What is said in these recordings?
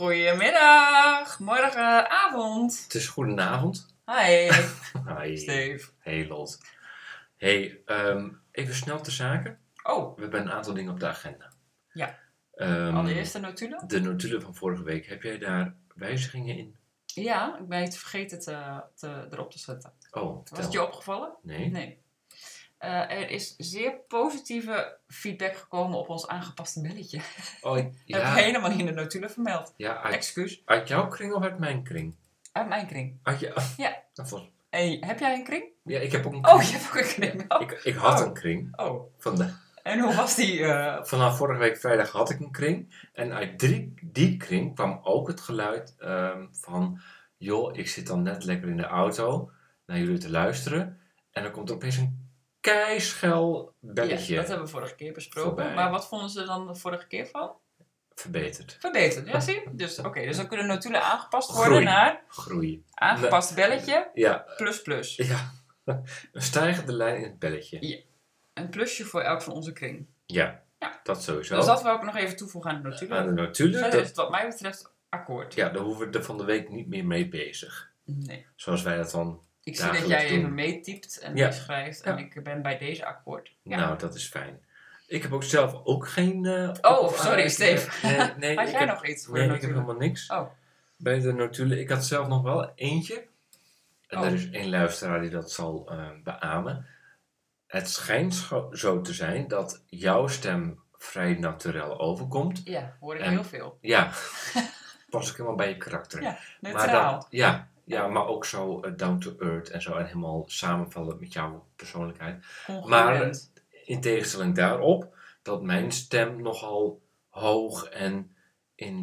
Goedemiddag, morgen, avond. Het is goedenavond. Hi, Hi. Steve. Hey Lot. Hey, ehm, even snel te zaken. Oh, We hebben een aantal dingen op de agenda. Ja. Ehm, allereerst de notulen? De notulen van vorige week, heb jij daar wijzigingen in? Ja, ik ben het vergeten te, te, erop te zetten. Oh, Was het tel. je opgevallen? Nee. Nee. Eh, er is zeer positieve feedback gekomen op ons aangepaste belletje. Oh, ik- Heb ik ja, helemaal niet in de notulen vermeld. ja uit, Excuus, uit jouw kring of uit mijn kring? uit mijn kring. Uit je, Ja. Dat was- Hey, heb jij een kring? ja, ik heb ook een Oh, kring. je hebt ook een kring. Oh. ik, ik had Oh. een kring. oh. Van de, En hoe was die? eh, vanaf vorige week vrijdag had ik een kring. En uit drie, die kring kwam ook het geluid ehm, van... joh, ik zit dan net lekker in de auto naar jullie te luisteren. En dan komt er opeens een keischel belletje Ja, dat hebben we vorige keer besproken. eh, Voorbij. Maar wat vonden ze dan de vorige keer van? verbeterd. Verbeterd, ja zie? je? Dus oké, dus dan kunnen notulen aangepast worden Groei. naar Groei. aangepast belletje, Ja, plus plus. ja. een stijgende lijn in het belletje. Een plusje voor elk van onze kring. Ja, Ja. dat sowieso. Dus dat wil ik nog even toevoegen aan de Aan notulen. de notulen, Verder is dat, het wat mij betreft akkoord. ja, daar hoeven we er van de week niet meer mee bezig. Nee. Zoals wij dat dan... Ik zie dat Dagelijks jij doen. even meetypt en Ja. meeschrijft en Ja. ik ben bij deze akkoord. Ja. Nou, dat is fijn. Ik heb ook zelf ook geen... eh, Oh, op- sorry, Steve. Nee, nee, Had ik jij heb- nog iets voor Nee, de ik heb notulen? helemaal niks. Oh. Bij de notulen. Ik had zelf nog wel eentje. En Oh. er is één luisteraar die dat zal eh, beamen. Het schijnt scho- zo te zijn dat jouw stem vrij naturel overkomt. Ja, hoor ik En- heel veel. Ja, pas ik helemaal bij je karakter. Ja, Maar Neutraal. Oh. dan, ja, ja, maar ook zo eh, down to earth en zo. En helemaal samenvallen met jouw persoonlijkheid. Congruent. In tegenstelling daarop, dat mijn stem nogal hoog en in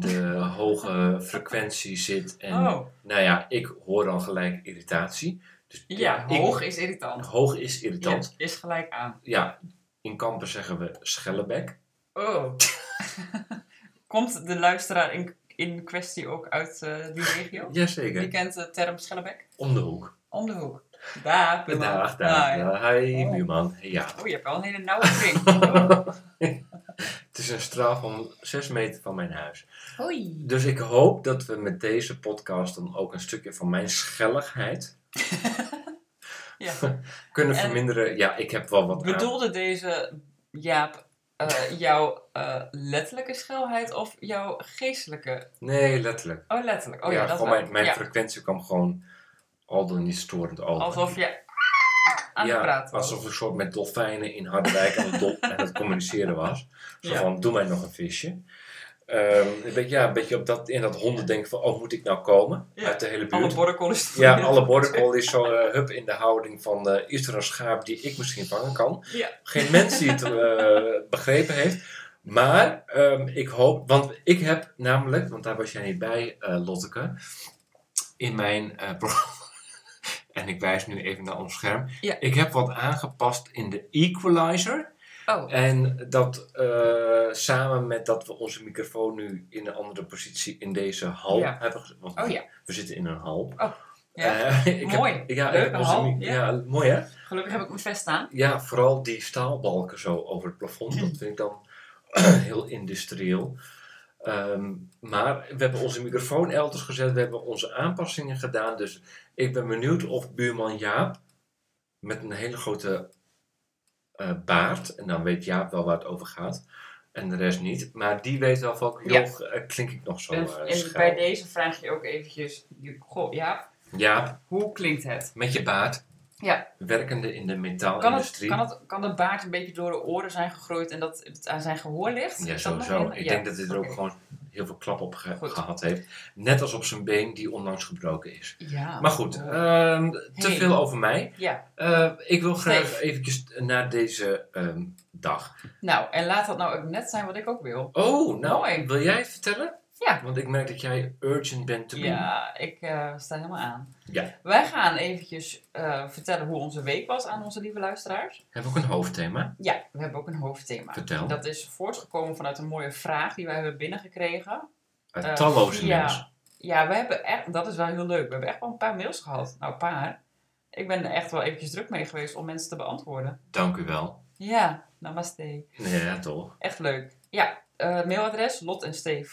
de hoge frequentie zit. En oh, nou ja, ik hoor dan gelijk irritatie. Dus ja, ik- hoog is irritant. hoog is irritant. Ja, is gelijk aan. Ja. in kampen zeggen we schellebek. Oh. Komt de luisteraar in, in kwestie ook uit eh, die regio? Die Jazeker, kent de term Schellebek? om de hoek. Om de hoek. Daar, buurman. Dag, Daar. daar. Ja, Hi, Oh. buurman. Ja. Oh, je hebt wel een hele nauwe kring. Oh. Het is een straal van 6 meter van mijn huis. Hoi. Dus ik hoop dat we met deze podcast dan ook een stukje van mijn schelligheid Ja. kunnen En- verminderen. Ja, ik heb wel wat aan. Bedoelde deze Jaap eh, jouw eh, letterlijke schelheid of jouw geestelijke? Nee, letterlijk. Oh, letterlijk. Oh ja, ja, dat gewoon wel. mijn, mijn Ja, frequentie kwam gewoon al dan niet storend over. Alsof je aan het ja, praten was. alsof ik soort met dolfijnen in Harderwijk aan het, dol- aan het communiceren was. Zo Ja. van, doe mij nog een visje. Ehm, een beetje, ja, een beetje op dat, in dat honden denken van, oh, moet ik nou komen? Ja. Uit de hele buurt. Alle borrel is ja, alle bordercall is zo eh, hup in de houding van, eh, is er een schaap die ik misschien vangen kan? Ja. Geen mens die het eh, begrepen heeft. Maar ehm, ik hoop, want ik heb namelijk, want daar was jij niet bij, eh, Lotteke, in mijn eh, programma. En ik wijs nu even naar ons scherm. Ja. Ik heb wat aangepast in de equalizer. Oh, En dat eh, samen met dat we onze microfoon nu in een andere positie in deze hal Ja. hebben gezet. Want oh ja. we zitten in een hal. ja. Eh, ik heb- Mooi. ja, Leuk, ik heb een onze hal. mi- Ja. Ja. mooi hè? Gelukkig heb ik mijn vest aan. Ja, vooral die staalbalken zo over het plafond. Dat vind ik dan heel industrieel. Ehm, maar we hebben onze microfoon elders gezet. We hebben onze aanpassingen gedaan. Dus ik ben benieuwd of buurman Jaap met een hele grote eh, baard. En dan weet Jaap wel waar het over gaat. En de rest niet. Maar die weet wel van, Ja. joh, eh, klink ik nog zo En, eh, en schel. bij deze vraag je ook eventjes, je- goh, ja, Jaap, hoe klinkt het? met je baard. Ja. Werkende in de Kan, het, metaalindustrie. kan, het, kan de baard een beetje door de oren zijn gegroeid en dat het aan zijn gehoor ligt? Ja, Is dat nog sowieso. een- Ik ja. denk dat hij er ook Oké. gewoon heel veel klap op ge- Goed. gehad heeft. Net als op zijn been die onlangs gebroken is. Ja. Maar goed, Oh. ehm, te Hey. veel over mij. Ja. Eh, ik wil graag Steef. eventjes naar deze ehm, dag. Nou, en laat dat nou ook net zijn wat ik ook wil. Oh, nou, Mooi. wil jij het vertellen? Ja. Want ik merk dat jij urgent bent te doen. Ja, ik eh, sta helemaal aan. Ja. Wij gaan eventjes eh, vertellen hoe onze week was aan onze lieve luisteraars. Heb ik ook een hoofdthema? Ja, we hebben ook een hoofdthema. Vertel. Dat is voortgekomen vanuit een mooie vraag die wij hebben binnengekregen. Uit Eh, talloze ja. mensen. Ja, we hebben echt, dat is wel heel leuk. We hebben echt wel een paar mails gehad. Nou, een paar. Ik ben er echt wel eventjes druk mee geweest om mensen te beantwoorden. Dank u wel. Ja, namaste. Nee, ja, toch? eh, Echt leuk. Ja, eh, mailadres lot en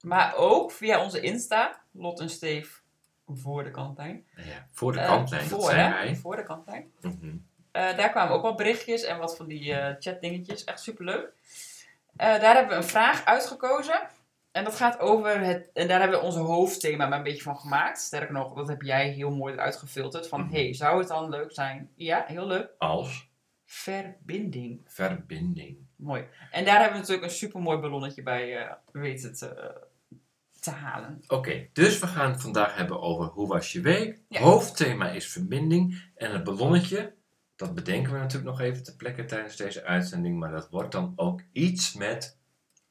Maar ook via onze Insta, Lot en Steef voor de kantlijn. Ja, voor de Eh, kantlijn, dat voor, zijn hè? wij. Voor de kantlijn. Mhm. Eh, daar kwamen ook wat berichtjes en wat van die eh chatdingetjes. Echt superleuk. Eh daar hebben we een vraag uitgekozen. En dat gaat over het. En daar hebben we ons hoofdthema maar een beetje van gemaakt. Sterker nog, dat heb jij heel mooi eruit gefilterd. Van Mhm. hey, zou het dan leuk zijn? Ja, heel leuk. Als Verbinding. verbinding. Mooi. En daar hebben we natuurlijk een supermooi ballonnetje bij eh weten te, te halen. Oké, dus we gaan het vandaag hebben over hoe was je week. Ja. Hoofdthema is verbinding. En het ballonnetje, dat bedenken we natuurlijk nog even ter plekke tijdens deze uitzending. Maar dat wordt dan ook iets met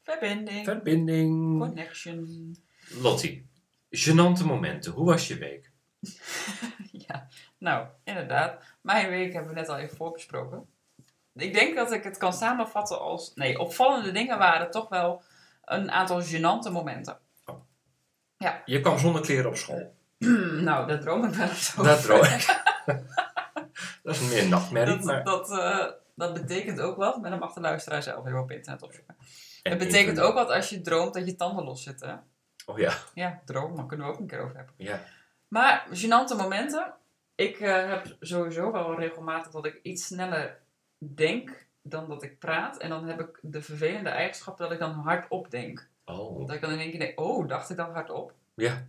Verbinding. verbinding. Connection. Lottie, genante momenten. Hoe was je week? Ja, nou, inderdaad. Mijn week hebben we net al even voorbesproken. Ik denk dat ik het kan samenvatten als... Nee, opvallende dingen waren toch wel een aantal gênante momenten. Je kwam zonder kleren op school. nou, daar droom ik wel eens over. Dat droog. dat is meer een nachtmerrie. Dat, maar... dat, eh, dat betekent ook wat, maar dan mag de luisteraar zelf even op internet opzoeken. en Het betekent internet. ook wat als je droomt dat je tanden loszitten. Oh ja, Ja, droom, daar kunnen we ook een keer over hebben. ja. Maar gênante momenten. Ik eh, heb sowieso wel regelmatig dat ik iets sneller denk dan dat ik praat. En dan heb ik de vervelende eigenschap dat ik dan hardop denk. Oh. Dat ik dan in één keer denk, oh, dacht ik dan hardop? Ja.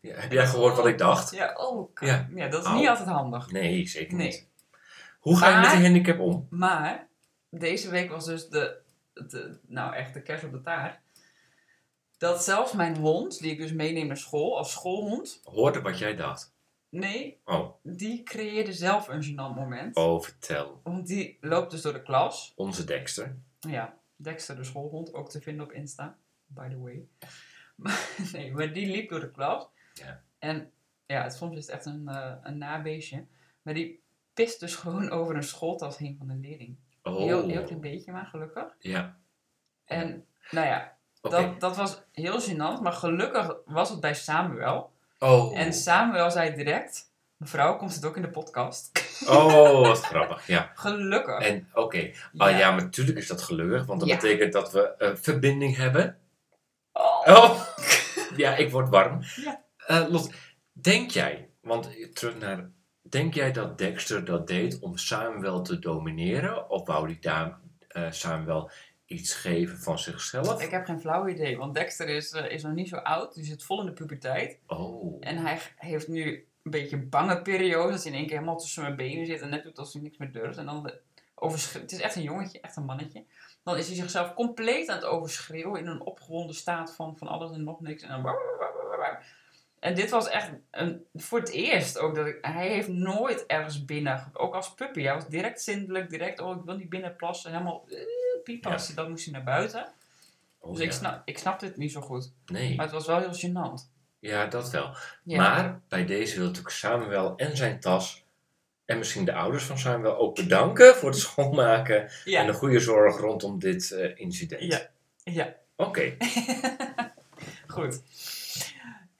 ja. Heb jij gehoord wat ik dacht? Ja, oh, ka- Ja. ja. dat is Au. niet altijd handig. Nee, zeker Nee. niet. Hoe ga je met Maar- een handicap om? Maar deze week was dus de, de, nou echt de kerst op de taart. Dat zelfs mijn hond, die ik dus meeneem naar school, als schoolhond. Hoorde wat jij dacht. Nee, Oh, die creëerde zelf een gênant moment. oh vertel. Want die loopt dus door de klas. Onze Dexter. Ja, Dexter de schoolhond, ook te vinden op Insta, by the way. Maar, nee, maar die liep door de klas. Ja. En ja, het, soms is het echt een, eh, een nabeestje. Maar die pist dus gewoon over een schooltas heen van een leerling. Oh, Heel, heel klein beetje, maar gelukkig. ja. En nou ja, Oké. dat, dat was heel gênant. Maar gelukkig was het bij Samuel. Oh. En Samuel zei direct... Mevrouw, komt het ook in de podcast? oh, wat grappig. Ja. Gelukkig. En oké. Ah ja, maar natuurlijk is dat gelukkig, want dat Ja. betekent dat we eh, verbinding hebben. Oh. Oh. ja, ik word warm. Ja. Eh, Lot, denk jij, want eh, terug naar. Denk jij dat Dexter dat deed om Samuel te domineren? Of wou die daar eh, Samuel iets geven van zichzelf? Ik heb geen flauw idee, want Dexter is, eh, is nog niet zo oud. Die zit vol in de puberteit. Oh. En hij g- heeft nu een beetje een bange periode. Dat hij in één keer helemaal tussen mijn benen zit en net doet alsof hij niks meer durft. En dan de- oversch- Het is echt een jongetje, echt een mannetje. Dan is hij zichzelf compleet aan het overschreeuwen in een opgewonden staat van, van alles en nog niks. En dan... wauw, wauw, wauw, wauw, wauw. En dit was echt een, voor het eerst ook dat ik, hij heeft nooit ergens binnen, ge- ook als puppy. Hij was direct zindelijk, direct, oh ik wil niet binnen plassen, helemaal eh, piepas. Dan moest hij naar buiten. Oh, Dus ja. ik, snap, ik snapte het niet zo goed. Nee. Maar het was wel heel gênant. Ja, dat wel. Ja. Maar bij deze wil natuurlijk Samuel en zijn tas. En misschien de ouders van Samuel ook bedanken voor het schoonmaken en Ja. de goede zorg rondom dit eh, incident. Ja. ja. Oké, Goed.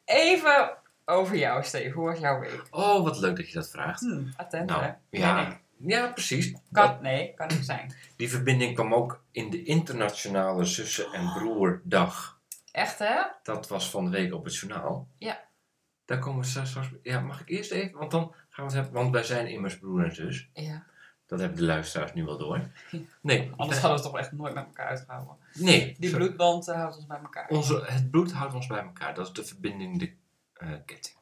Even over jou, Steve. Hoe was jouw week? oh wat leuk dat je dat vraagt. Hm, attent, Nou, hè? Ben ik. ja, ja, precies. Kan, nee, kan niet zijn. Die verbinding kwam ook in de internationale zussen- en broerdag. Echt, hè? Dat was van de week op het journaal. Ja. Daar komen we straks. straks- Ja, mag ik eerst even? Want dan gaan we het hebben. Want wij zijn immers broer en zus. Ja. Dat hebben de luisteraars nu wel door. Nee. Anders hadden we het toch echt nooit met elkaar uitgehouden. Nee. Die zo- Oh. bloedband eh, houdt ons bij elkaar. Onze, het bloed houdt ons bij elkaar. Dat is de verbinding, de eh, ketting.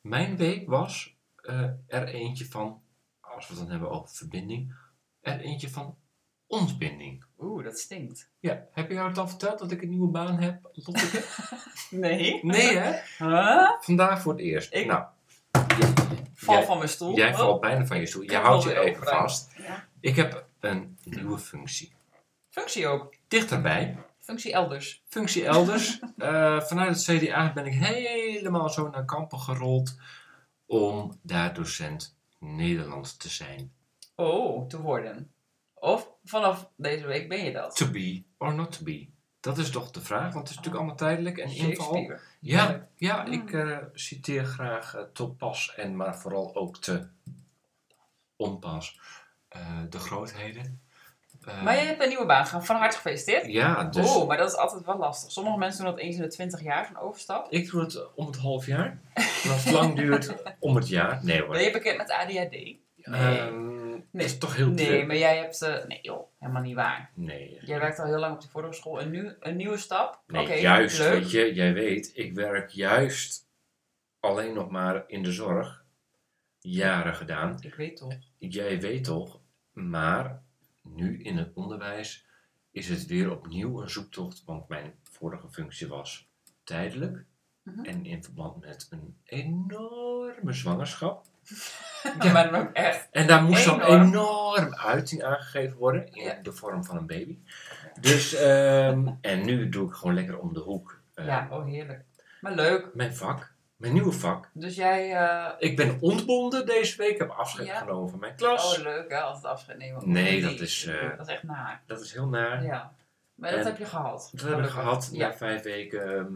Mijn week was eh, er eentje van, als we het dan hebben over verbinding, er eentje van ontbinding. Oeh, dat stinkt. Ja, heb je jou het al verteld dat ik een nieuwe baan heb, Lotteke? Nee? Nee, hè? Huh? Vandaag voor het eerst. Ik- nou, Val Jij- van mijn stoel. jij Oh. valt bijna van je stoel. Je kan houdt wel je weer even overeind. vast. Ja. Ik heb een nieuwe functie. Functie ook. Dichterbij, Functie elders. functie elders. Eh, vanuit het CDA ben ik helemaal zo naar Kampen gerold om daar docent Nederlands te zijn. Oh, te worden. Of vanaf deze week ben je dat. To be or not to be. Dat is toch de vraag, want het is natuurlijk allemaal tijdelijk en inval. Shakespeare. Ja, ja ik Hmm. eh, citeer graag eh, tot pas en maar vooral ook te onpas eh, de grootheden. Eh, Maar je hebt een nieuwe baan gaan. Van harte gefeliciteerd. Ja, dus Oh, maar dat is altijd wel lastig. Sommige mensen doen dat eens in de 20 jaar, zo'n overstap. Ik doe het om het half jaar. en als het lang duurt, om het jaar. Nee hoor. Ben je bekend met ADHD? Nee. Nee. Dat Ehm, is toch heel druk. Nee, maar jij hebt... eh, nee joh, helemaal niet waar. Nee. Jij werkt al heel lang op die vorige school. En nu een nieuwe stap? Nee, Oké, juist, leuk. weet je, jij weet, ik werk juist alleen nog maar in de zorg. Jaren gedaan. Ik weet toch. Jij weet toch, maar nu in het onderwijs is het weer opnieuw een zoektocht, want mijn vorige functie was tijdelijk Mhm. en in verband met een enorme zwangerschap. Ja. Maar dan ook echt. En daar moest dan Enorm. enorm uiting aangegeven worden in Ja. de vorm van een baby. Dus, ehm, en nu doe ik gewoon lekker om de hoek. eh, Ja, oh heerlijk. Maar leuk. Mijn vak, mijn nieuwe vak. Dus jij... eh, Ik ben ontbonden deze week, heb afscheid Ja. genomen van mijn klas. Oh leuk hè, altijd afscheid nemen. Nee, dat is, eh, Dat is echt naar. Dat is heel naar. Ja. Maar dat En- heb je gehad. Dat hebben we gehad Ja. na vijf weken. ehm,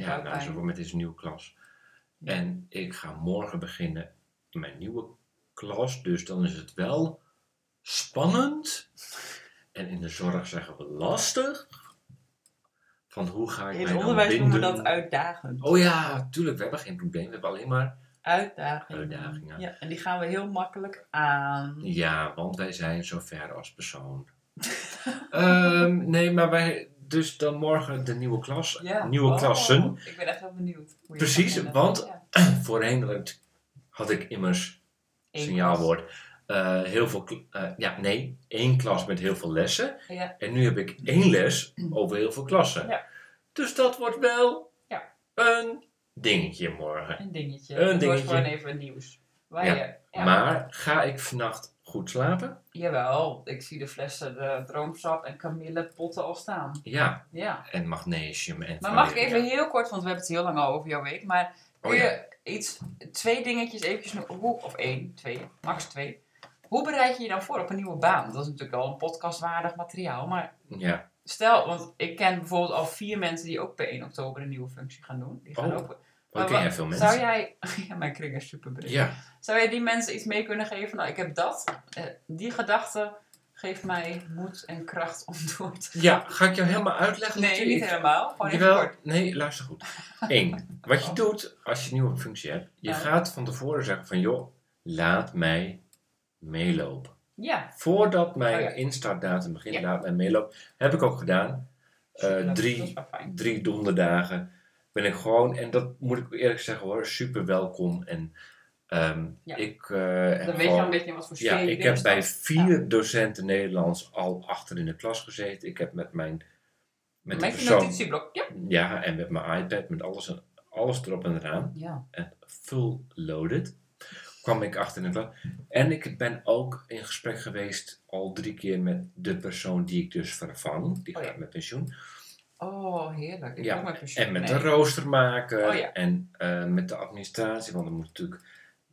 ja, Ja, nou, zo fijn. met deze nieuwe klas. Ja. En ik ga morgen beginnen in mijn nieuwe klas. Dus dan is het wel spannend. En in de zorg zeggen we lastig. Van hoe ga ik In mij het dan onderwijs noemen we binden? dat uitdagend. Oh ja, tuurlijk. We hebben geen probleem. We hebben alleen maar Uitdagingen. uitdagingen. Ja, en die gaan we heel makkelijk aan. Ja, want wij zijn zo ver als persoon. Ehm, nee, maar wij... Dus dan morgen de nieuwe klas. Ja. Nieuwe Oh, klassen. Ik ben echt heel benieuwd. hoe je Precies, dat gaat want- doen. Ja. Voorheen had- had ik immers Eén signaalwoord. eh, heel veel, kl- eh, ja, nee, één klas met heel veel lessen. klas. Ja. En nu heb ik één les over heel veel klassen. Ja. Dus dat wordt wel Ja. een dingetje morgen. Een dingetje. Een Het wordt dingetje. gewoon even nieuws. Waar Ja, je, ja. Maar ga ik vannacht goed slapen? Jawel, ik zie de flessen de droomsap en kamillepotten al staan. Ja, Ja. en magnesium en Maar mag ik valeria. even heel kort, want we hebben het heel lang al over jouw week. Maar kun Oh ja. je iets, twee dingetjes eventjes, no- hoe, of één, twee, max twee. Hoe bereid je je dan voor op een nieuwe baan? Dat is natuurlijk al een podcastwaardig materiaal, maar Ja, Stel, want ik ken bijvoorbeeld al vier mensen die ook per 1 oktober een nieuwe functie gaan doen. Die gaan Oh, ook. dan Maar ken wat- jij veel mensen. Zou jij, ja, mijn kring is super breed. Ja, Zou jij die mensen iets mee kunnen geven? Nou, ik heb dat. Eh, die gedachte geeft mij moed en kracht om door te. ja, ga ik jou helemaal uitleggen? Nee, natuurlijk? niet helemaal. Gewoon even Jawel, kort. nee, luister goed. Eén, wat je doet als je een nieuwe functie hebt, je Ja. gaat van tevoren zeggen van joh, laat mij meelopen. Ja. Voordat mijn Oh ja. instartdatum begint, Ja. laat mij meelopen. Heb ik ook gedaan. Eh, Superleuk, drie. Dat is wel fijn. Drie donderdagen ben ik gewoon, en dat moet ik eerlijk zeggen hoor, super welkom. En ehm, Ja. ik eh, heb Dan weet je gewoon- al een beetje in wat voor sfeer ja, je ik heb bij binnenstapt. vier docenten Nederlands al achter in de klas gezeten. Ik heb met mijn Met, met, de je persoon, notitieblok. Ja. ja, en met mijn iPad, met alles, en, alles erop en eraan. ja. En full loaded. Kwam ik achter in de klas. En ik ben ook in gesprek geweest al drie keer met de persoon die ik dus vervang. Die Oh gaat ja. met pensioen. Oh, heerlijk. Ik Ja, wil ook mijn pensioen En met mee. de rooster maken. Oh ja. En eh, met de administratie. Want er moet natuurlijk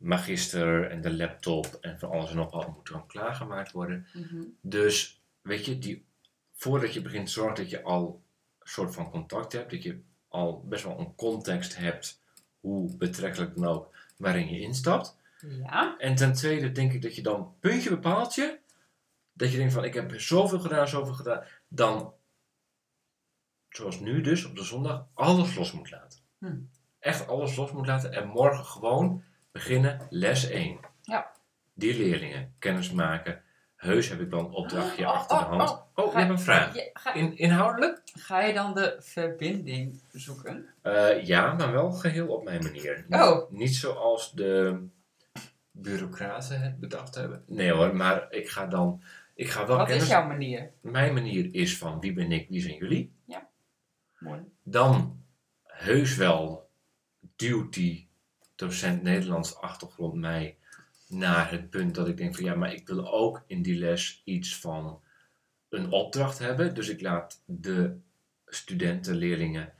magister en de laptop en van alles en nog wat moet dan klaargemaakt worden. Mhm. Dus weet je, die, voordat je begint zorg dat je al een soort van contact hebt. Dat je al best wel een context hebt. Hoe betrekkelijk dan ook waarin je instapt. Ja. En ten tweede denk ik dat je dan puntje bepaalt je. Dat je denkt van ik heb zoveel gedaan, zoveel gedaan. Dan, zoals nu dus, op de zondag, alles los moet laten. Hm. Echt alles los moet laten. En morgen gewoon beginnen les 1. Ja. Die leerlingen kennis maken. Heus heb ik wel een opdrachtje Oh, achter de oh, hand. oh. Oh, je hebt een vraag. Ja, ga, In, inhoudelijk? ga je dan de verbinding zoeken? Eh, ja, maar wel geheel op mijn manier. Niet- Oh. Niet zoals de bureaucraten het bedacht hebben. Nee hoor, maar ik ga dan. Ik ga wel Wat kennis. is jouw manier? Mijn manier is van wie ben ik, wie zijn jullie. Mooi. Dan heus wel duwt die docent Nederlands achtergrond mij naar het punt dat ik denk van ja, maar ik wil ook in die les iets van een opdracht hebben. Dus ik laat de studenten, leerlingen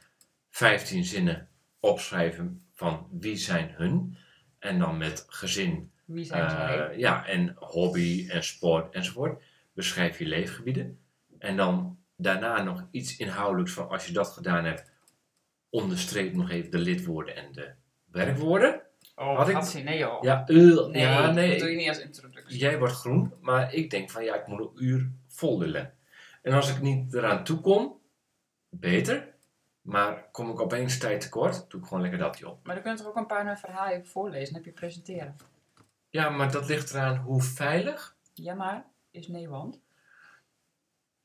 15 zinnen opschrijven van wie zijn hun. En dan met gezin, Wie zijn zij? eh, ja, en hobby en sport enzovoort. Beschrijf je leefgebieden. En dan daarna nog iets inhoudelijks van als je dat gedaan hebt, onderstreep nog even de lidwoorden en de werkwoorden. Oh, Had ik- had nee joh. Ja, eh, Nee, ja, dat doe nee. je niet als introductie. Jij wordt groen, maar ik denk van ja, ik moet een uur vol lullen. En als ik niet eraan toe kom, beter. Maar kom ik opeens tijd tekort, doe ik gewoon lekker dat, joh. Maar dan kun je toch ook een paar eh, verhalen voorlezen en heb je presenteren. Ja, maar dat ligt eraan hoe veilig. Ja, maar is nee want.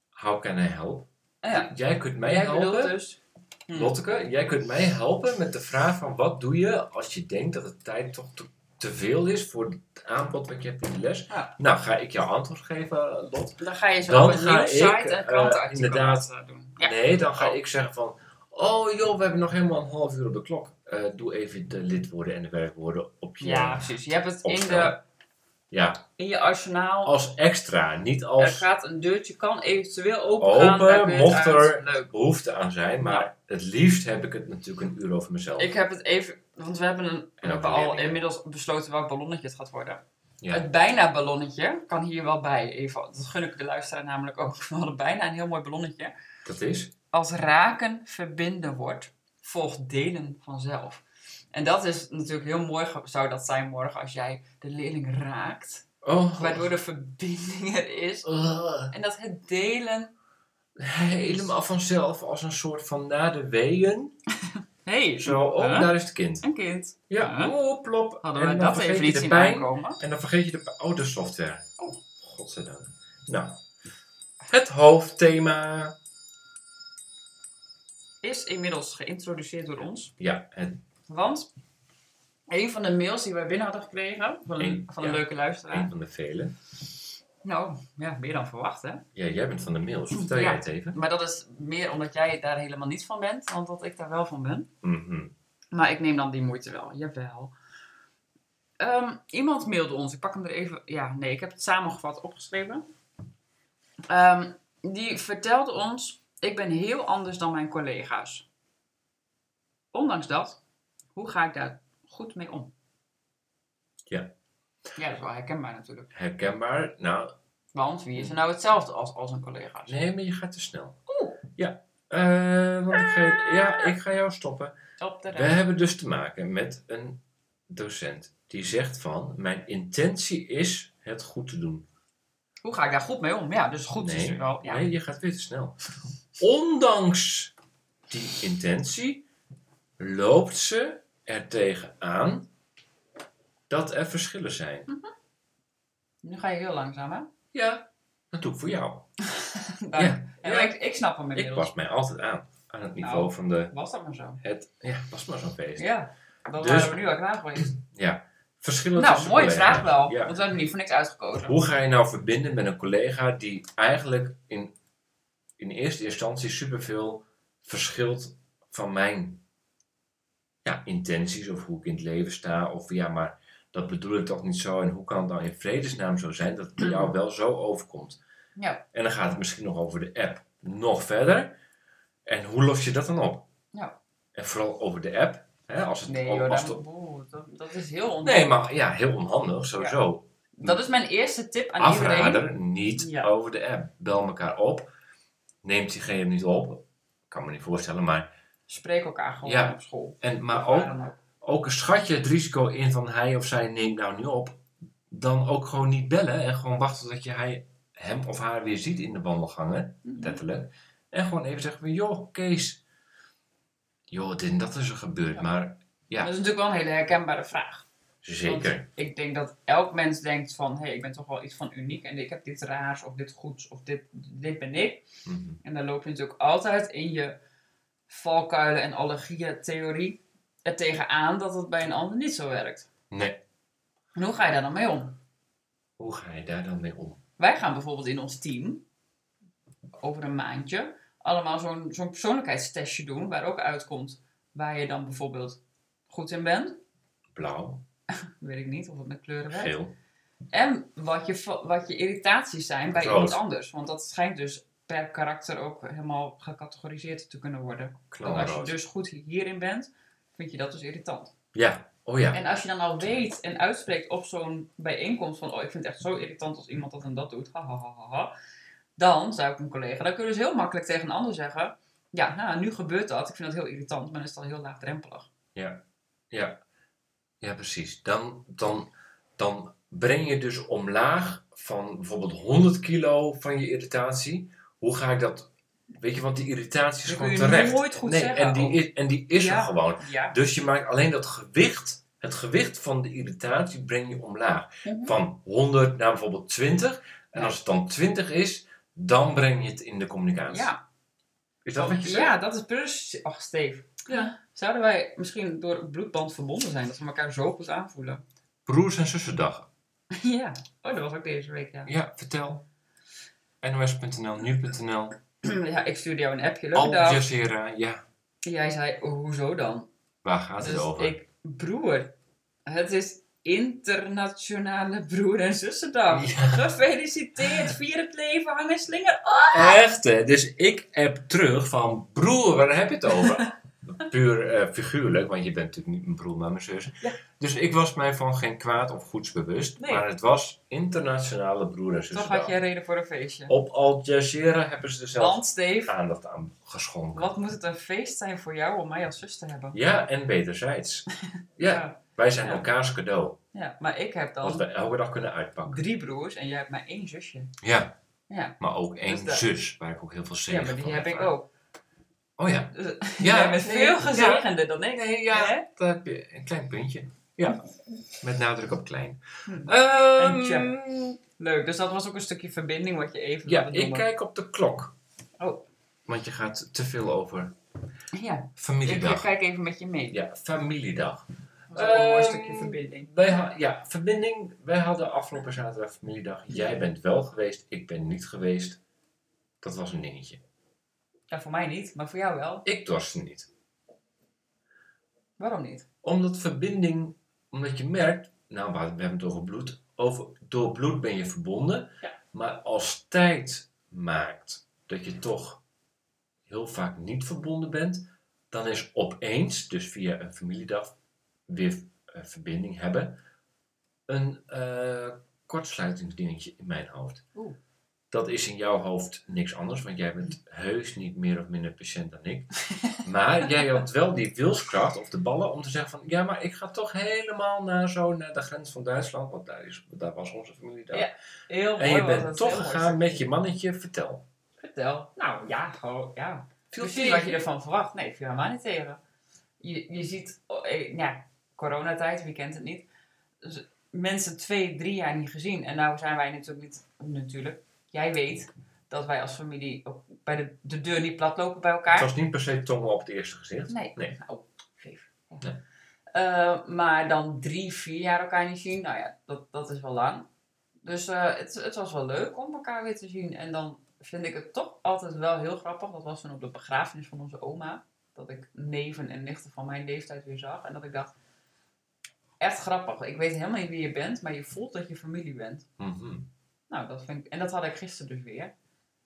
How can I help? Ah, ja. Jij kunt mij Jij helpen. bedoelt dus... Hm. Lotteke, jij kunt mij helpen met de vraag van wat doe je als je denkt dat het tijd toch te, te veel is voor het aanbod wat je hebt in de les. Ja. Nou, ga ik jou antwoord geven, Lot? dus, Dan ga je zo Dan op een ga nieuwe ik, site eh, en krantenartikel inderdaad. laten doen. Ja. Nee, dan ga Oh. ik zeggen van, oh joh, we hebben nog helemaal een half uur op de klok. Eh, doe even de lidwoorden en de werkwoorden op je... ja, precies. Je hebt het in, Opstel. de, Ja, in je arsenaal. als extra, niet Er als gaat een deurtje, kan eventueel Open, opengaan. daar kun je het mocht er- uit. Leuk. behoefte aan zijn. Maar het liefst heb ik het natuurlijk een uur over mezelf. Ik heb het even, want we hebben, een, we ook hebben de al leerlingen. inmiddels besloten welk ballonnetje het gaat worden. Ja. Het bijna ballonnetje kan hier wel bij. Even, dat gun ik de luisteraar namelijk ook. We hadden bijna een heel mooi ballonnetje. Dat is? Als raken verbinden wordt, volgt delen vanzelf. En dat is natuurlijk heel mooi, ge- zou dat zijn morgen als jij de leerling raakt. Oh, Waardoor de verbinding er is. Eh. En dat het delen. helemaal vanzelf als een soort van na de weeën. hey, Zo, oh, Huh? daar is het kind. een kind. Ja, Huh? oh, plop. Hadden en we dan dat vergeet even je niet de zien pijn. aankomen? En dan vergeet je de oude software. Oh. godzijdank. Nou, het hoofdthema. Is inmiddels geïntroduceerd door ons. Ja, het Want een van de mails die wij binnen hadden gekregen van een, Eén, van een ja. leuke luisteraar. een van de vele. Nou, ja, meer dan verwacht hè. Ja, jij bent van de mails. Vertel Ja. jij het even. Maar dat is meer omdat jij daar helemaal niet van bent dan dat ik daar wel van ben. Mhm. Maar ik neem dan die moeite wel, jawel. Ehm, iemand mailde ons, ik pak hem er even. Ja, nee, ik heb het samengevat opgeschreven. Ehm, die vertelde ons: Ik ben heel anders dan mijn collega's. Ondanks dat, hoe ga ik daar goed mee om? Ja. Ja, dat is wel herkenbaar natuurlijk. Herkenbaar. Nou, Want wie is er nou hetzelfde als, als een collega's? nee, maar je gaat te snel. Oeh. Ja. Eh, want ik ga, ja, ik ga jou stoppen. Op de We rij. hebben dus te maken met een docent die zegt van mijn intentie is het goed te doen. Hoe ga ik daar goed mee om? Ja, dus goed is nee, er wel. Ja. nee, je gaat weer te snel. Ondanks die intentie loopt ze er tegenaan dat er verschillen zijn. Nu ga je heel langzaam, hè? Ja, dat doe ik voor jou. Dank. Ja, Ja, ja. maar Ik, ik snap hem Ik Ah, inmiddels. pas mij altijd aan aan het niveau Nou. van de Was dat maar zo? het ja pas maar zo'n feest. Ja, Ja, dan Dus- waren we nu al klaar geweest. verschillen Nou, tussen mooie collega's. vraag wel. Ja. Want we hebben niet voor niks uitgekozen. Hoe ga je nou verbinden met een collega die eigenlijk in, in eerste instantie superveel verschilt van mijn ja, intenties of hoe ik in het leven sta? Of ja, maar dat bedoel ik toch niet zo en hoe kan het dan in vredesnaam zo zijn dat het bij jou wel zo overkomt? Ja. En dan gaat het misschien nog over de app nog verder. En hoe los je dat dan op? Ja. En En vooral over de app. Hè, als het, Nee als joh, het- dat, oeh, dat, dat is heel onhandig. Oh, nee, maar ja, heel onhandig sowieso. Dat is mijn eerste tip aan iedereen. afrader, niet Ja. over de app. Bel elkaar op. Neemt diegene niet op. Kan me niet voorstellen, maar... Spreek elkaar gewoon Ja. op school. En, maar Waar ook, dan ook. ook schat je het risico in van hij of zij neemt nou niet op. Dan ook gewoon niet bellen en gewoon wachten tot je hij, hem of haar weer ziet in de wandelgangen. Letterlijk. En gewoon even zeggen van, joh Kees. Joh, dit en dat is er gebeurd, Ja. maar... Ja, Dat is natuurlijk wel een hele herkenbare vraag. zeker. Want ik denk dat elk mens denkt van, hé, hey, ik ben toch wel iets van uniek en ik heb dit raars of dit goeds of dit, dit ben ik. Mhm. En dan loop je natuurlijk altijd in je valkuilen en allergieën theorie er tegenaan dat het bij een ander niet zo werkt. Nee. En hoe ga je daar dan mee om? Hoe ga je daar dan mee om? Wij gaan bijvoorbeeld in ons team over een maandje allemaal zo'n zo'n persoonlijkheidstestje doen waar ook uitkomt waar je dan bijvoorbeeld goed in bent. Blauw, Weet ik niet of het met kleuren werkt. geel. En wat je, va- wat je irritaties zijn bij Rood. iemand anders. Want dat schijnt dus per karakter ook helemaal gecategoriseerd te kunnen worden. Want als je knalrood. dus goed hierin bent, vind je dat dus irritant. Ja, oh ja. En als je dan al weet en uitspreekt op zo'n bijeenkomst van... oh, ik vind het echt zo irritant als iemand dat en dat doet, ha, ha, ha, ha, ha. Dan, zou ik een collega, dan kun je dus heel makkelijk tegen een ander zeggen... ja, nou, nu gebeurt dat, ik vind dat heel irritant, maar dan is het al heel laagdrempelig. Ja, Ja, precies. Dan, dan, dan breng je dus omlaag van bijvoorbeeld 100 kilo van je irritatie. Hoe ga ik dat... Weet je, want die irritatie is Dat gewoon kun je terecht. nooit goed nee, zeggen en die, ook. is- en die is Ja. er gewoon. Ja. Dus je maakt alleen dat gewicht, het gewicht van de irritatie breng je omlaag. Mhm. Van 100 naar bijvoorbeeld 20. En Ja. als het dan 20 is, dan breng je het in de communicatie. Ja. Is dat wat je zegt? ja, dat is precies... Ach, Steve. Ja. Zouden wij misschien door het bloedband verbonden zijn? Dat we elkaar zo goed aanvoelen? Broers en zussendag. ja. Oh, dat was ook deze week, ja. Ja, vertel. NOS.nl, nu.nl. ja, ik stuurde jou een appje. Leuke Al dag. Jazeera. Ja, Jij zei, hoezo dan? waar gaat het Dus over? ik, broer, het is internationale broer- en zussendag. Gefeliciteerd, vier het leven, hang een slinger op. Echt, hè? Dus ik heb terug van broer, waar heb je het over? Puur eh, figuurlijk, want je bent natuurlijk niet mijn broer, maar mijn zus. Ja. Dus ik was mij van geen kwaad of goeds bewust. Nee. Maar het was internationale broer en Toch had zus. jij reden voor een feestje. Op Al Jazeera hebben ze er zelfs Want, Steve, aandacht aan geschonken. wat moet het een feest zijn voor jou om mij als zus te hebben? Ja, en wederzijds. Ja, ja. wij zijn Ja. elkaars cadeau. Ja, maar ik heb Wat dan we elke dag kunnen uitpakken. drie broers en jij hebt maar één zusje. Ja, Ja, maar ook één Dus dat- zus, waar ik ook heel veel zin ja maar die heb ik ook. Oh ja. Dus, Ja, jij bent nee, veel ja. gezegender dan ik. Nee, ja, Hè? daar heb je een klein puntje. Ja, met nadruk op klein. Hm. Ehm, En tja. Leuk, dus dat was ook een stukje verbinding wat je even ja, wilde ik noemen. kijk op de klok. Oh. Want je gaat te veel over Ja, ik familiedag. kijk even met je mee. Ja, familiedag. Dat was ook een mooi Ehm, stukje verbinding. Wij ha- ja, verbinding. Wij hadden afgelopen zaterdag familiedag. Jij bent wel geweest, ik ben niet geweest. Dat was een dingetje. Ja, voor mij niet, maar voor jou wel. Ik dorst niet. Waarom niet? Omdat verbinding, omdat je merkt, nou we hadden- we hebben het over bloed, over, door bloed ben je verbonden, Ja. maar als tijd maakt dat je toch heel vaak niet verbonden bent, dan is opeens, dus via een familiedag, weer eh, verbinding hebben, een eh, kortsluitingsdingetje in mijn hoofd. Oeh. Dat is in jouw hoofd niks anders, want jij bent heus niet meer of minder patiënt dan ik. Maar jij had wel die wilskracht of de ballen om te zeggen van... ja, maar ik ga toch helemaal naar, zo, naar de grens van Duitsland... want daar, is, daar was onze familie daar. Ja, Heel en je mooi was dat, bent toch heel mooi gegaan met stukje. je mannetje, vertel. Vertel. Nou ja, gewoon, ja. Viel Precies tegen. wat je ervan verwacht. Nee, ik viel helemaal niet tegen. Je, je ziet, oh, eh, ja, coronatijd, wie kent het niet. Dus mensen twee, drie jaar niet gezien. En nou zijn wij natuurlijk niet, natuurlijk, jij weet dat wij als familie ook bij de, de deur niet plat lopen bij elkaar. Het was niet per se tongen op het eerste gezicht. Nee. Nee. Nou, geef. Ja. Nee. Eh, maar dan drie, vier jaar elkaar niet zien, nou ja, dat, dat is wel lang. Dus eh, het, het was wel leuk om elkaar weer te zien. En dan vind ik het toch altijd wel heel grappig. Dat was toen op de begrafenis van onze oma. Dat ik neven en nichten van mijn leeftijd weer zag. En dat ik dacht, echt grappig. Ik weet helemaal niet wie je bent, maar je voelt dat je familie bent. Mhm. Nou, dat vind ik, en dat had ik gisteren dus weer.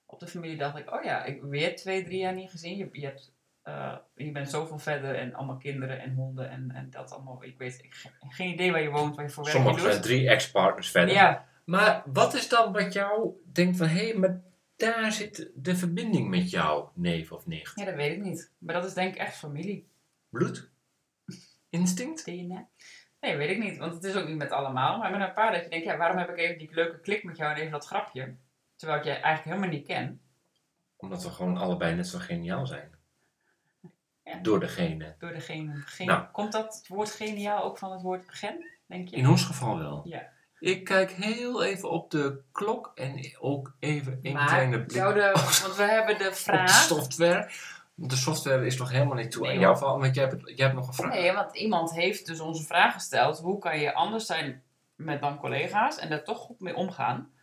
Op de familie dacht ik, oh ja, ik weer twee, drie jaar niet gezien. Je, je, hebt, eh, je bent zoveel verder en allemaal kinderen en honden en, en dat allemaal. Ik weet ik, ge- geen idee waar je woont, waar je voor werk je Sommigen zijn doet. drie ex-partners verder. Ja, Maar wat is dan wat jou denkt van... hé, maar daar zit de verbinding met jou, neef of nicht? ja, dat weet ik niet. Maar dat is denk ik echt familie. Bloed? Instinct? DNA. Nee, weet ik niet. Want het is ook niet met allemaal. Maar met een paar dat je denkt, ja, waarom heb ik even die leuke klik met jou en even dat grapje? Terwijl ik je eigenlijk helemaal niet ken. Omdat we gewoon allebei net zo geniaal zijn. Ja. Door degene. Door degene. Geen, Nou. Komt dat woord geniaal ook van het woord gen, denk je? In ons geval wel. Ja. Ik kijk heel even op de klok en ook even een kleine Maar blik Oh, zouden, want we hebben de op de vraag. software. Want De software is nog helemaal niet toe Nee, in hoor. jouw geval, want jij hebt, jij hebt nog een vraag. Nee, want iemand heeft dus onze vraag gesteld. Hoe kan je anders zijn met dan collega's en daar toch goed mee omgaan?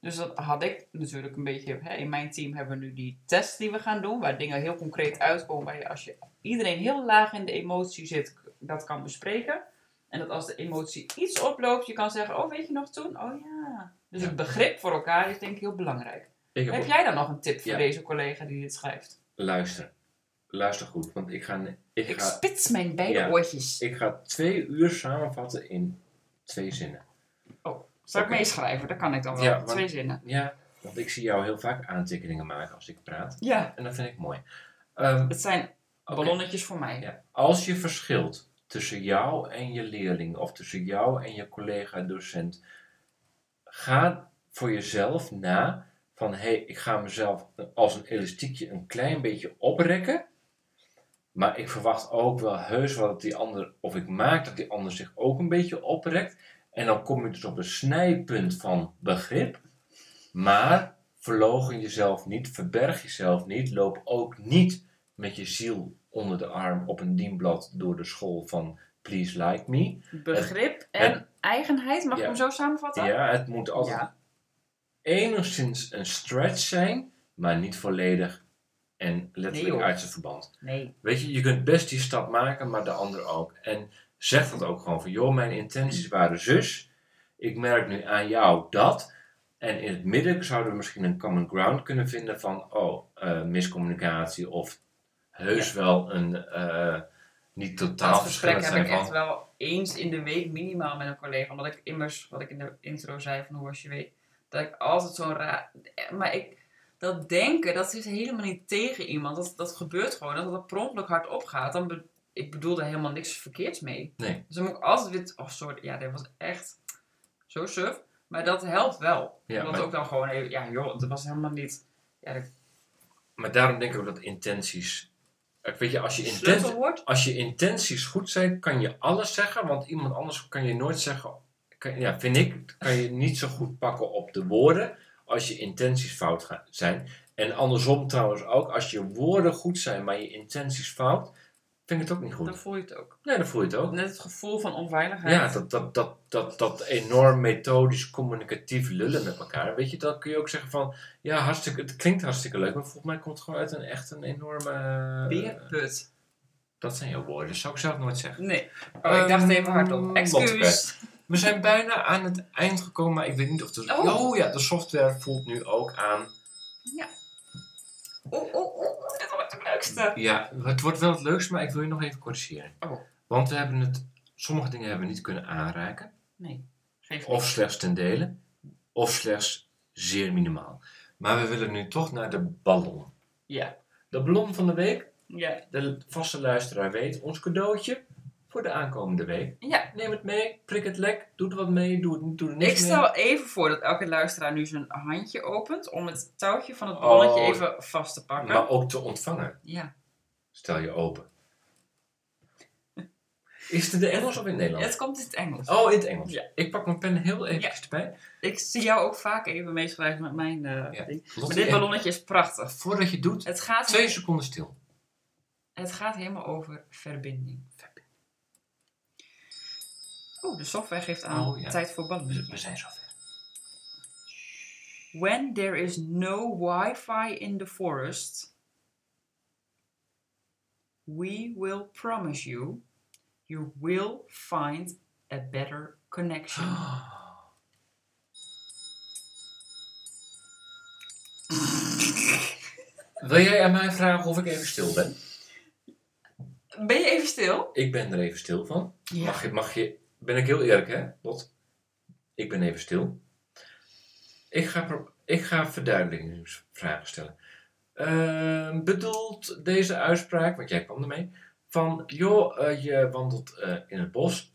Dus dat had ik natuurlijk een beetje. Hè, in mijn team hebben we nu die test die we gaan doen, waar dingen heel concreet uitkomen. Waar je als je iedereen heel laag in de emotie zit, dat kan bespreken. En dat als de emotie iets oploopt, je kan zeggen: Oh, weet je nog toen? Oh ja. Dus Ja. het begrip voor elkaar is denk ik heel belangrijk. Ik heb Heb jij dan nog een tip voor Ja. deze collega die dit schrijft? Luister. Luister goed, want ik ga, ik Ik ga, spits mijn beide Ja. oortjes. ik ga twee uur samenvatten in twee zinnen. Zal ik Oké. meeschrijven? Dat kan ik dan wel. Ja, want- Twee zinnen. Ja, want ik zie jou heel vaak aantekeningen maken als ik praat. Ja. En dat vind ik mooi. Ehm, Het zijn oké. ballonnetjes voor mij. Ja, als je verschilt, tussen jou en je leerling of tussen jou en je collega-docent. Ga voor jezelf na van hé, hey, ik ga mezelf als een elastiekje een klein beetje oprekken. Maar ik verwacht ook wel heus wel dat die ander, of ik maak dat die ander zich ook een beetje oprekt. En dan kom je dus op een snijpunt van begrip. Maar verlogen jezelf niet, verberg jezelf niet, loop ook niet met je ziel onder de arm op een dienblad door de school van Please Like Me. Begrip en het- eigenheid, mag Ja. ik hem zo samenvatten? Ja, het moet altijd Ja. enigszins een stretch zijn, maar niet volledig en letterlijk Nee, joh. uit zijn verband. Nee. Weet je, je kunt best die stap maken, maar de ander ook. En zeg dat ook gewoon van, joh, mijn intenties waren zus. Ik merk nu aan jou dat. En in het midden zouden we misschien een common ground kunnen vinden van, oh, eh, miscommunicatie of heus wel een eh, niet Dat totaal gesprek verschillend heb zijn ik van. echt wel eens in de week minimaal met een collega. Omdat ik immers, wat ik in de intro zei van hoe was je week, dat ik altijd zo'n raar... Maar ik, dat denken, dat zit helemaal niet tegen iemand. Dat, dat gebeurt gewoon. Dat het per ongeluk hard opgaat, dan... be- ik bedoel daar helemaal niks verkeerds mee. Nee. Dus dan moet ik altijd weer... Oh, sorry. Ja, dit was echt zo suf. Maar dat helpt wel. Ja, Want maar- ook dan gewoon... even- Ja, joh, dat was helemaal niet... Ja, dat Maar daarom denk ik ook dat intenties... Ik weet je, als je, intent, sleutelwoord. als je intenties goed zijn, kan je alles zeggen. Want iemand anders kan je nooit zeggen. Kan, ja, vind ik, kan je niet zo goed pakken op de woorden. Als je intenties fout gaan, zijn. En andersom trouwens ook. Als je woorden goed zijn, maar je intenties fout. Vind ik het ook niet Dan goed. voel je het ook. Nee, dan voel je het ook. Net het gevoel van onveiligheid. Ja, dat, dat, dat, dat, dat enorm methodisch communicatief lullen met elkaar. Weet je, dan kun je ook zeggen van. Ja, hartstikke, het klinkt hartstikke leuk. Maar volgens mij komt het gewoon uit een echt een enorme. Beerput. Dat zijn jouw woorden. Dat zou ik zelf nooit zeggen. Nee. Oh, ik dacht even hardop. Ehm, Excuus. We zijn bijna aan het eind gekomen, maar ik weet niet of de... Oh. Oh, ja, de software voelt nu ook aan. Oeh, oeh, oeh. Dit wordt oh, het leukste. Ja, het wordt wel het leukste, maar ik wil je nog even corrigeren. Oh. Want we hebben het... Sommige dingen hebben we niet kunnen aanraken. Nee. Geef Of niet. slechts ten dele. Of slechts zeer minimaal. Maar we willen nu toch naar de ballon. Ja. De ballon van de week. Ja. De vaste luisteraar weet. Ons cadeautje voor de aankomende week. Ja. Neem het mee. Prik het lek. Doe er wat mee. Doe, het- doe er niks Ik mee. stel even voor dat elke luisteraar nu zijn handje opent om het touwtje van het balletje Oh. even vast te pakken. Maar ook te ontvangen. Ja. Stel je open. Is het in de Engels of in het Nederlands? Het komt in het Engels. Oh, in het Engels. Ja. Ik pak mijn pen heel even erbij. Ik zie jou ook vaak even meeschrijven met mijn eh, Ja. ding. Lotte, Maar dit en ballonnetje is prachtig. Voordat je het doet, Het gaat, twee seconden stil. het gaat helemaal over verbinding. Oeh, de software geeft aan Oh, ja. tijd voor We, ballonnetje. we zijn zover. When there is no Wi-Fi in the forest, we will promise you, you will find a better connection. Wil jij aan mij vragen of ik even stil ben? Ben je even stil? Ik ben er even stil van. Ja. Mag je, mag je, ben ik heel eerlijk, hè, Lot? Ik ben even stil. Ik ga, pro- ik ga verduidelijkingsvragen stellen. Ehm, bedoelt deze uitspraak, want jij kwam ermee, van joh, eh, je wandelt eh, in het bos,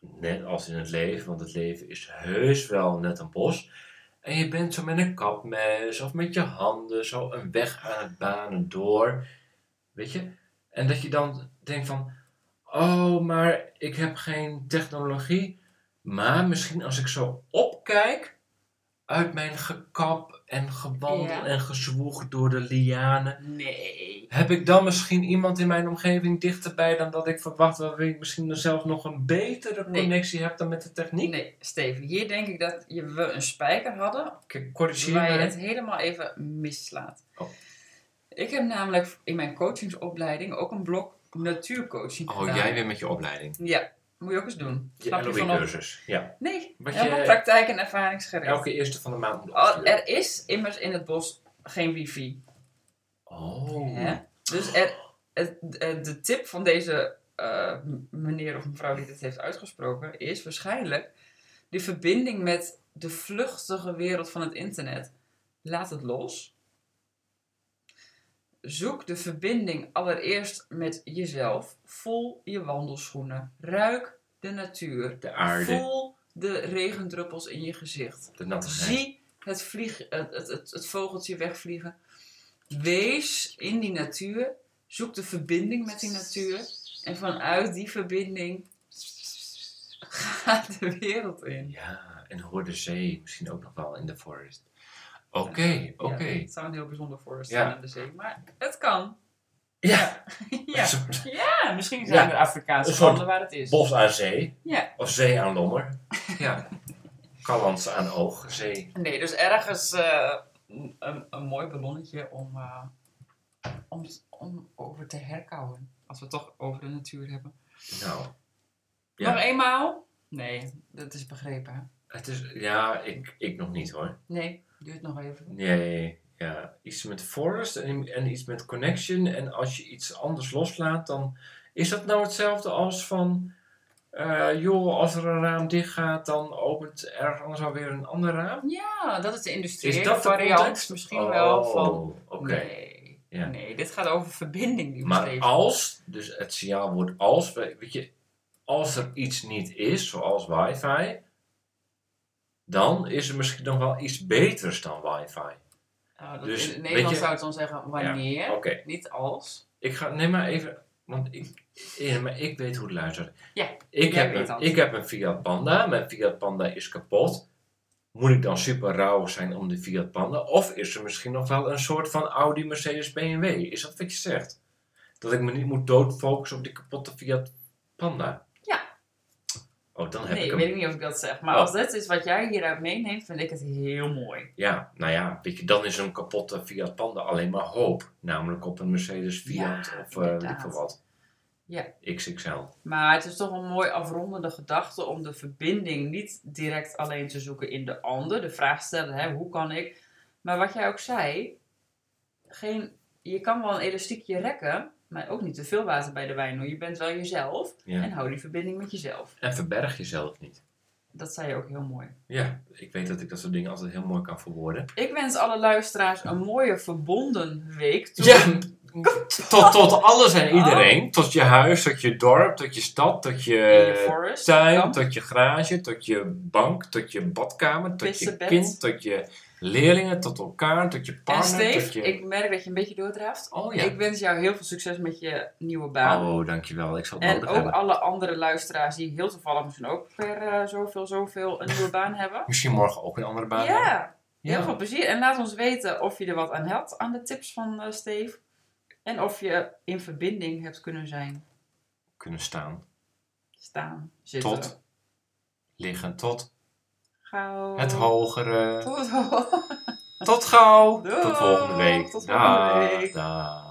net als in het leven, want het leven is heus wel net een bos. En je bent zo met een kapmes of met je handen zo een weg aan het banen door, weet je? En dat je dan denkt van, Oh, maar ik heb geen technologie. Maar misschien als ik zo opkijk uit mijn gekap en gewandel Ja. en gezwoeg door de lianen. Nee. Heb ik dan misschien iemand in mijn omgeving dichterbij dan dat ik verwacht? Waarbij ik misschien dan zelf nog een betere Nee. connectie heb dan met de techniek? Nee, Steven, hier denk ik dat je, we een spijker hadden Ik corrigeer waar je mij. het helemaal even misslaat. Oh. Ik heb namelijk in mijn coachingsopleiding ook een blok natuurcoaching gedaan. Oh, weer met je opleiding. Oh, Ja, moet je ook eens doen. Je Snap je van op? LOE-cursus. Ja. Nee, Wat helemaal je- praktijk en ervaringsgericht. Elke eerste van de maand moet Al- opsturen. Er is immers in het bos geen wifi. Oh. Hè? Dus er, het- eh, de tip van deze eh, m- meneer of mevrouw die dit heeft uitgesproken is waarschijnlijk de verbinding met de vluchtige wereld van het internet. Laat het los. Zoek de verbinding allereerst met jezelf. Voel je wandelschoenen. Ruik de natuur. De aarde, Voel de regendruppels in je gezicht. de nattigheid. Zie het, vlieg, het, het, het, het vogeltje wegvliegen. Wees in die natuur. Zoek de verbinding met die natuur. En vanuit die verbinding ga de wereld in. Ja, en hoor de zee misschien ook nog wel in de forest. Oké, oké. Ja, Ja, het zou een heel bijzonder forest Ja. zijn aan de zee. Maar het kan. een Ja, soort ja misschien zijn Ja. er Afrikaanse Een soort landen waar het is. bos aan zee. Ja. Of zee aan lommer. Ja. Callands aan oog, zee. Nee, dus ergens eh, een, een mooi ballonnetje om, eh, om, om over te herkauwen. Als we het toch over de natuur hebben. Nou, Ja. Nog eenmaal? Nee, dat is begrepen. hè? het is... Ja, ik, ik nog niet hoor. Nee, duurt nog even. Nee, ja. Iets met forest en, en iets met connection. En als je iets anders loslaat, dan is dat nou hetzelfde als van... eh, joh, als er een raam dicht gaat, dan opent er anders alweer een ander raam? Ja, Ah, dat is de industriële Is dat de variant context? misschien wel van... Oh, Oké. Nee, Ja. nee, dit gaat over verbinding die Maar beschreven als, dus het signaalwoord als, we- weet je, als er iets niet is, zoals wifi, dan is er misschien nog wel iets beters dan wifi. Oh, dat Dus, in het weet Nederlands je- Oh. zou ik dan zeggen wanneer, Oké, niet als. ik ga, neem maar even, want ik, eh, maar ik weet hoe het luistert. Ja, ik jij heb, weet een, dat. ik heb een Fiat Panda, mijn Fiat Panda is kapot. Moet ik dan super rauw zijn om de Fiat Panda? Of is er misschien nog wel een soort van Audi, Mercedes, BMW? Is dat wat je zegt? Dat ik me niet moet doodfocussen op die kapotte Fiat Panda? Ja. Oh, dan heb Nee, ik ik hem. weet niet of ik dat zeg. Maar Oh. als dit is wat jij hieruit meeneemt, vind ik het heel mooi. Ja, nou ja, weet je, dan is een kapotte Fiat Panda alleen maar hoop. Namelijk op een Mercedes Fiat Ja, of eh, weet ik inderdaad. veel wat. Ja. XXL. Maar het is toch een mooi afrondende gedachte om de verbinding niet direct alleen te zoeken in de ander. De vraag stellen, hè, hoe kan ik? Maar wat jij ook zei, geen, je kan wel een elastiekje rekken, maar ook niet te veel water bij de wijn doen. Je bent wel jezelf Ja. en hou die verbinding met jezelf. En verberg jezelf niet. Dat zei je ook heel mooi. Ja, ik weet dat ik dat soort dingen altijd heel mooi kan verwoorden. Ik wens alle luisteraars een mooie verbonden week toe. Ja, tot, tot alles Oh. en iedereen. Tot je huis, tot je dorp, tot je stad, tot je, In je forest, tuin, kamp. tot je garage, tot je bank, tot je badkamer, tot je Pissebed. kind, tot je leerlingen, tot elkaar, tot je En partner. Steve, tot je... ik merk dat je een beetje doordraaft. Oh ja. Ik wens jou heel veel succes met je nieuwe baan. Oh, dankjewel. Ik zal het En nodig ook hebben. alle andere luisteraars die heel toevallig misschien ook per eh, zoveel, zoveel een nieuwe baan hebben. Misschien morgen ook een andere baan. hebben. Ja, heel Ja. veel plezier. En laat ons weten of je er wat aan had aan de tips van eh, Steve. En of je in verbinding hebt kunnen zijn, Kunnen staan, staan, zitten. Tot. liggen, tot Gauw. het hogere. Tot het hoofd. Tot gauw. Doeg. Tot volgende week. Tot volgende Dag, week. dag.